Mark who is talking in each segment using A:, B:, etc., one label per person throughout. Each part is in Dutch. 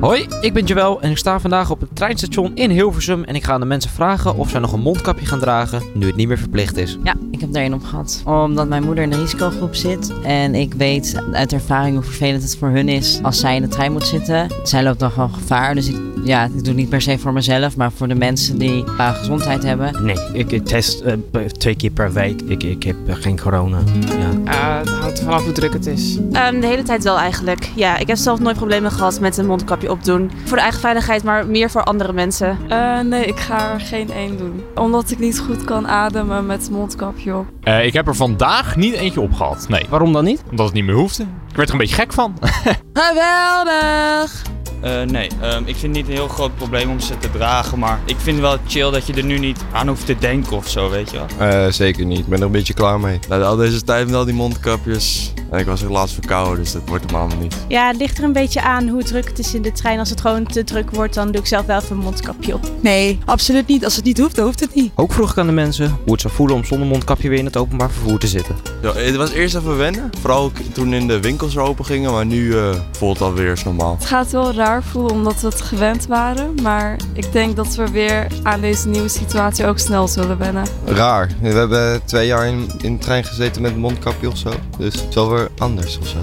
A: Hoi, ik ben Joël en ik sta vandaag op het treinstation in Hilversum en ik ga aan de mensen vragen of zij nog een mondkapje gaan dragen nu het niet meer verplicht is.
B: Ja, ik heb er één op gehad. Omdat mijn moeder in de risicogroep zit. En ik weet uit ervaring hoe vervelend het voor hun is als zij in de trein moet zitten. Zij loopt dan gewoon gevaar. Dus ik, ja, ik doe het niet per se voor mezelf, maar voor de mensen die eh, gezondheid hebben.
C: Nee, ik test eh, per- twee keer per week. Ik, ik heb eh, geen corona. Ja.
D: Eh, het hangt er vanaf hoe druk het is.
E: Ehm, de hele tijd wel eigenlijk. Ja, ik heb zelf nooit problemen gehad met een mondkapje opdoen. Voor de eigen veiligheid, maar meer voor andere mensen.
F: Eh, nee, ik ga er geen één doen. Omdat ik niet goed kan ademen met mondkapje op.
G: Eh, ik heb er vandaag niet eentje op gehad. Nee,
C: Waarom dan niet?
G: omdat het niet meer hoefde. Ik werd er een beetje gek van.
B: Geweldig!
H: Eh, nee, Ehm, ik vind het niet een heel groot probleem om ze te dragen. Maar ik vind wel chill dat je er nu niet aan hoeft te denken of zo, weet je wel.
I: Eh, zeker niet. Ik ben er een beetje klaar mee. Na al deze tijd met al die mondkapjes. En ik was er laatst verkouden, dus dat wordt hem allemaal niet.
J: Ja, het ligt er een beetje aan hoe druk het is in de trein. Als het gewoon te druk wordt, dan doe ik zelf wel even een mondkapje op.
K: Nee, absoluut niet. Als het niet hoeft, dan hoeft het niet.
A: Ook vroeg ik aan de mensen hoe het zou voelen om zonder mondkapje weer in het openbaar vervoer te zitten.
I: Ja, het was eerst even wennen. Vooral ook toen in de winkels weer open gingen. Maar nu eh, voelt het alweer eens normaal.
F: Het gaat wel raar voelen omdat we het gewend waren. Maar ik denk dat we weer aan deze nieuwe situatie ook snel zullen wennen.
I: Raar. We hebben twee jaar in, in de trein gezeten met mondkapje of zo. Dus het is wel weer anders of zo.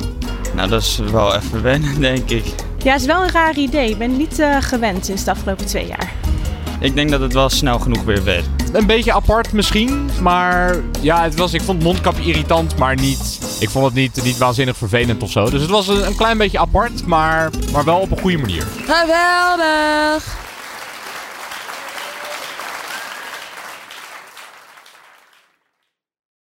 H: Nou, dat is wel even wennen, denk ik.
J: Ja, het is wel een raar idee. Ik ben niet eh, gewend sinds de afgelopen twee jaar.
H: Ik denk dat het wel snel genoeg weer werd.
G: Een beetje apart misschien, maar ja, het was, ik vond mondkapje irritant, maar niet, ik vond het niet, niet waanzinnig vervelend of zo. Dus het was een, een klein beetje apart, maar, maar wel op een goede manier.
B: Geweldig!